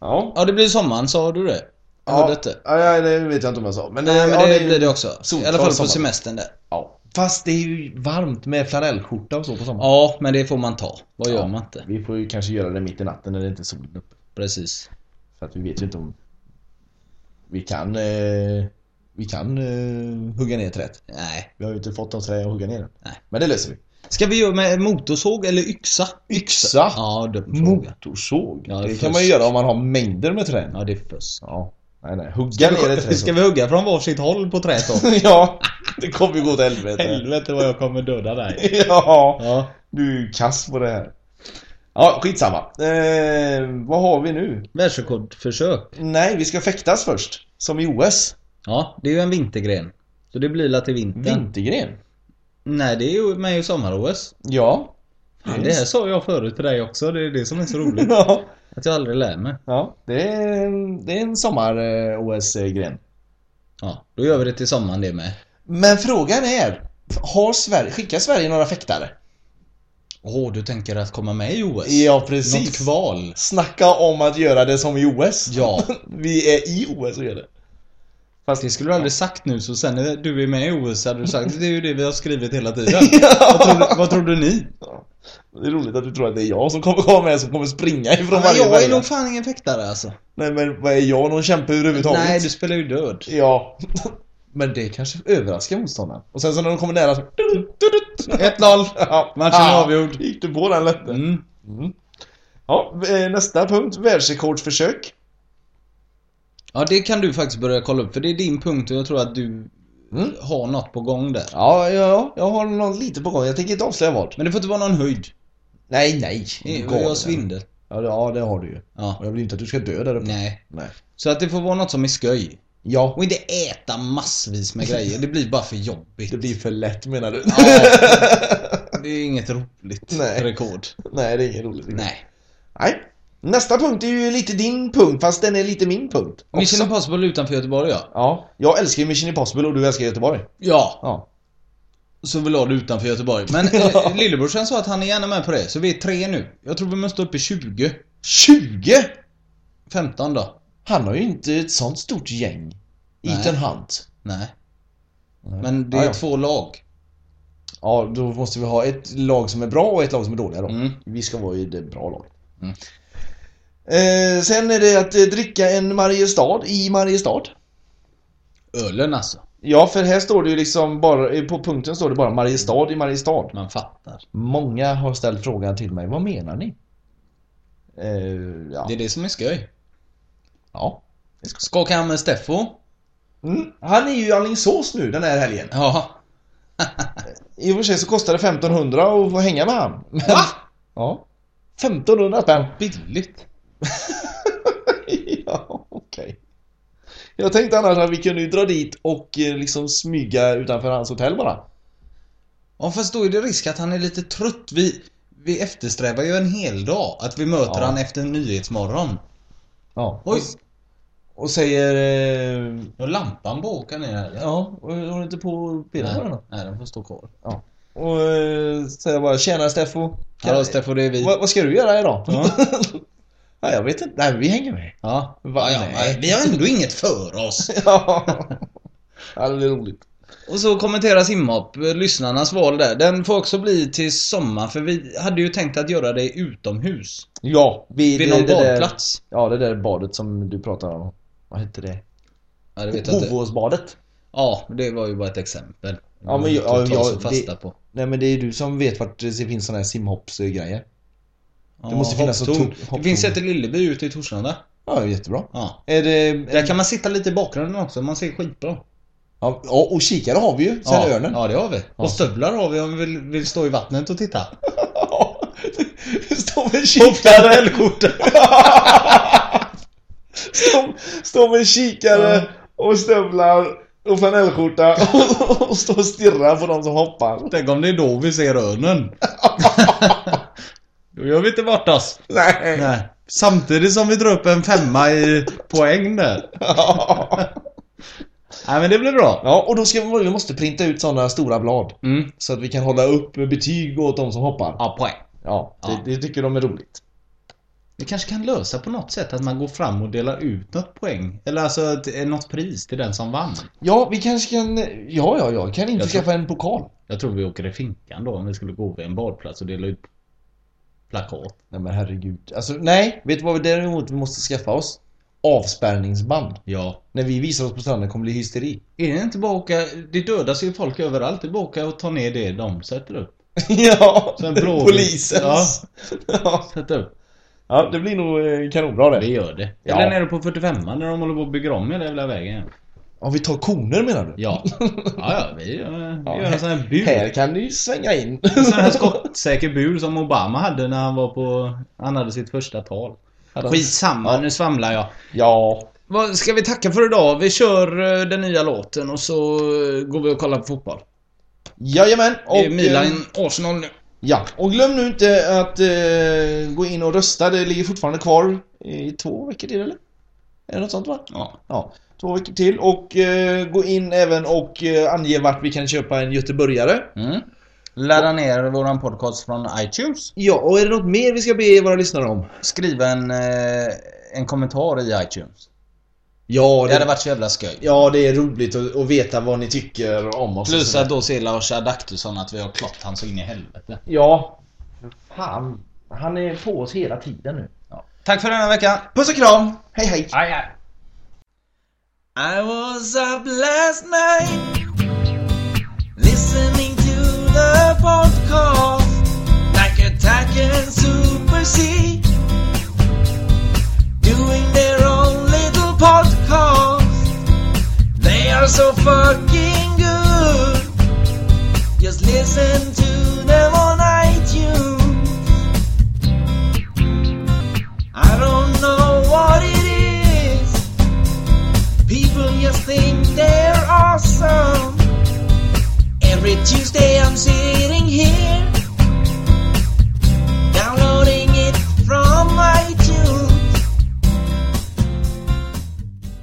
S1: ja.
S2: ja det blir sommaren, sa du det? Jag hörde inte.
S1: Ja, ja, det vet jag inte om jag sa. Men,
S2: Nej,
S1: eh,
S2: men
S1: ja,
S2: det blir det också. I
S1: solklar
S2: alla fall på
S1: sommar.
S2: semestern där.
S1: Ja, Fast det är ju varmt med flanellskjorta och så på sommaren.
S2: Ja, men det får man ta. Vad gör
S7: Ja.
S2: man inte?
S7: Vi får ju kanske göra det mitt i natten när det inte är solen uppe.
S2: Precis.
S7: För att vi vet ju inte om... Vi kan... Eh, vi kan eh, hugga ner ett träd.
S2: Nej.
S7: Vi har ju inte fått något träd att hugga ner än.
S2: Nej.
S7: Men det löser vi.
S2: Ska vi göra med motorsåg eller yxa?
S7: Yxa?
S2: Ja, dum fråga.
S7: Motorsåg?
S2: Ja,
S1: Det
S2: det
S1: kan man ju göra om man har mängder med trän.
S2: Ja, det är fusk.
S7: Ja. Nej, nej. Hugga ner ett träd.
S2: Ska vi hugga från varsitt håll på träet då?
S7: ja. Det kommer ju gå åt helvete.
S2: Helvete vad jag kommer döda dig.
S7: ja.
S2: Ja.
S7: Du är ju kass på det här. Ja, skitsamma. Eh, vad har vi nu?
S2: Världsrekordförsök.
S7: Nej, vi ska fäktas först. Som i OS.
S2: Ja, det är ju en vintergren. Så det blir la till vintern.
S7: Vintergren.
S2: Nej, det är ju med i sommar-OS.
S7: Ja.
S2: Det här sa jag förut till dig också. Det är det som är så roligt.
S7: ja.
S2: att jag aldrig lär mig.
S7: Ja, det är, en- det är en
S1: eh,
S7: sommar-OS-gren.
S2: Ja, då gör vi det till sommaren det med.
S1: Men frågan är, har Sverige, skickar Sverige några fäktare?
S2: Åh, du tänker att komma med i OS?
S1: Ja,
S2: Något
S1: precis.
S2: kval?
S1: Snacka om att göra det som i OS.
S2: Ja.
S1: Vi är i OS och gör det.
S2: Fast det skulle du aldrig sagt nu, så sen när du är med i OS hade du sagt det är ju det vi har skrivit hela tiden. vad, trodde, vad trodde ni?
S1: Det är roligt att du tror att det är jag som kommer vara med som kommer springa ifrån
S2: Men
S1: varje
S2: jag är
S1: början.
S2: nog fan ingen fäktare alltså.
S1: Nej men vad är jag? Någon kämpe överhuvudtaget?
S2: Nej, du spelar ju död.
S1: Ja. Men det kanske överraskar motståndaren. Och sen så när de kommer nära så... Ah,
S2: 1-0! Matchen är avgjord.
S1: Gick du på den lätt?
S2: Mm.
S1: Ja, eh, nästa punkt. Världsrekordsförsök.
S2: Ja, det kan du faktiskt börja kolla upp, för det är din punkt och jag tror att du
S1: Mm.
S2: har något på gång där.
S1: Ja, ja, ja, jag har något lite på gång. Jag tänker inte avslöja vad.
S2: Men det får inte vara någon höjd.
S1: Nej, nej.
S2: Jag
S1: Galen.
S2: har svindel.
S1: Ja, det- ja, det har du ju. Och
S2: Ja.
S1: jag vill inte att du ska dö där uppe.
S2: Nej.
S1: Nej.
S2: Så att det får vara något som är sköj.
S1: Ja.
S2: Och inte äta massvis med grejer. Det blir bara för jobbigt.
S1: Det blir för lätt menar du?
S2: Det är inget roligt
S1: Nej.
S2: rekord.
S1: nej, det är inget roligt.
S2: Nej.
S1: nej. Nästa punkt är ju lite din punkt, fast den är lite min punkt. också.
S2: Mission Impossible utanför Göteborg ja.
S1: Ja, jag älskar ju Mission Impossible och du älskar Göteborg.
S2: Ja,
S1: Ja.
S2: så vill ha det utanför Göteborg. Men eh, lillebrorsan sa att han är gärna med på det, så vi är tre nu. Jag tror vi måste upp i 20.
S1: 20!
S2: 15 då?
S1: Han har ju inte ett sånt stort gäng.
S2: Nej.
S1: Ethan Hunt.
S2: Nej. Men det är
S1: Ah, Ja, ja.
S2: två lag.
S1: Ja, då måste vi ha ett lag som är bra och ett lag som är dåliga då.
S2: Mm.
S1: Vi ska vara i det bra laget. Eh, sen är det att eh, dricka en Mariestad i Mariestad.
S2: Ölen alltså.
S1: Ja, för här står det ju liksom bara, eh, på punkten står det bara Mariestad i Mariestad.
S2: Man fattar.
S1: Många har ställt frågan till mig, vad menar ni? Eh, ja.
S2: Det är det som är skoj.
S1: ja.
S2: Skaka hand med Steffo.
S1: Mm. Han är ju i Alingsås nu den här helgen.
S2: Ja.
S1: I och för sig så kostar det 1500 att få hänga med han. Men, Va? Ja. 1500 spänn.
S2: Billigt.
S1: ja, okej. Jag tänkte annars att vi kunde ju dra dit och eh, liksom smyga utanför hans hotell bara.
S2: Ja fast då är det risk att han är lite trött. Vi, vi eftersträvar ju en hel dag. Att vi möter
S1: Ja.
S2: han efter en nyhetsmorgon.
S1: Ja.
S2: Oj,
S1: Och, och säger... Eh,
S2: nu har lampan på åka ner här.
S1: ja, och- håller inte på att pilla på den
S2: Nej,
S1: då?
S2: nej, den får stå kvar.
S1: Och eh, säger bara tjena Steffo. Kan- Eh,
S2: Hallå Steffo, det är vi.
S1: vad, vad ska du göra idag?
S2: Ja.
S1: Nej, jag vet inte. Nej, vi hänger med.
S2: Ja.
S1: Va,
S2: ja, ja,
S1: nej.
S2: men vi har ändå inget för oss.
S1: ja, det blir roligt.
S2: Och så kommentera simhopp, eh, lyssnarnas val där. Den får också bli till sommar för vi hade ju tänkt att göra det utomhus.
S1: Ja, vi,
S2: Vid någon badplats.
S1: Ja, det där badet som du pratade om. Vad hette det?
S2: Ja, det vet jag inte.
S1: Hovåsbadet.
S2: Ja, det var ju bara ett exempel.
S1: Ja, men
S2: Det
S1: jag-
S2: går inte att ta
S1: jag-
S2: så fasta
S1: det-
S2: på.
S1: Nej men det är du som vet vart det finns såna här simhoppsgrejer.
S2: Ja,
S1: måste finnas
S2: hopptorn.
S1: ett torn-
S2: Det
S1: hopptorn.
S2: finns ett i Lilleby ute i Torslanda.
S1: Ja, jättebra.
S2: Ja.
S1: Är det...
S2: Där kan man sitta lite i bakgrunden också, man ser skitbra.
S1: Ja, och kikare har vi ju, sen
S2: ja.
S1: örnen.
S2: Ja, det har vi.
S1: Ja.
S2: Och stövlar har vi om vi vill, vill stå i vattnet och titta.
S1: Står med kikare. Står- Står med kikare och stövlar och flanellskjorta och, och står och stirrar på de som hoppar.
S2: Tänk om det är då vi ser örnen. då gör vi inte bort oss.
S1: Nej.
S2: Nej. Samtidigt som vi drar upp en femma i poäng där. Nej men det blir bra.
S1: Ja, och då ska vi, vi måste printa ut såna stora blad.
S2: Mm.
S1: Så att vi kan hålla upp betyg åt de som hoppar.
S2: Ja, poäng.
S1: Ja,
S2: Ja.
S1: det, det tycker de är roligt.
S2: Vi kanske kan lösa på något sätt att man går fram och delar ut något poäng. Eller alltså ett, något pris till den som vann.
S1: Ja, vi kanske kan... Ja, ja, ja. Kan inte
S2: Jag tror-
S1: skaffa en pokal?
S2: Jag tror vi åker i finkan då om vi skulle gå vid en badplats och dela ut plakat.
S1: Nej men herregud. Alltså nej, vet du vad vi däremot måste skaffa oss? Avspärrningsband.
S2: Ja.
S1: När vi visar oss på stranden kommer det bli hysteri.
S2: Är det inte bara att åka... Det dödas ju folk överallt. Det är bara att åka och ta ner det de sätter upp.
S1: ja,
S2: Sen blåvis. Ja.
S1: polisens. Ja.
S2: Sätta upp.
S1: ja, det blir nog eh, kanonbra det.
S2: Vi gör det.
S1: Ja.
S2: Eller nere på 45 när de håller på att bygga om hela jävla vägen.
S1: Om vi tar koner menar du?
S2: Ja. Ja, ja vi gör, vi
S1: Ja,
S2: gör en sån här bur.
S1: Här kan du ju svänga in.
S2: En sån här skottsäker bur som Obama hade när han var på... Han hade sitt första tal. Skitsamma, nu svamlar jag.
S1: Ja.
S2: Vad ska vi tacka för idag? Vi kör eh, den nya låten och så eh, går vi och kollar på fotboll.
S1: Jajamän.
S2: Det är
S1: eh,
S2: Milan, Arsenal nu.
S1: Ja, och glöm nu inte att eh, gå in och rösta. Det ligger fortfarande kvar i två veckor till eller? Är det något sånt va?
S2: Ja.
S1: Ja, två veckor till. Och eh, gå in även och eh, ange vart vi kan köpa en göteborgare.
S2: Mm. Ladda ner våran podcast från iTunes.
S1: Ja, och är det något mer vi ska be våra lyssnare om?
S2: Skriva en, eh, en kommentar i iTunes.
S1: Ja,
S2: Det hade
S1: det,
S2: varit så jävla skoj.
S1: ja, det är roligt att, att veta vad ni tycker om oss.
S2: Plus att då ser Lars Adaktusson att vi har klott han så in i helvete.
S1: Ja. Fan. Han är på oss hela tiden nu.
S2: Tack för denna vecka. Puss och kram. Hej hej. I was up last night listening to the podcast like attack and super C doing their own little podcast. They are so fucking good. Just listen to them on iTunes. I don't know what it is. People just think they're awesome. Every Tuesday I'm sitting.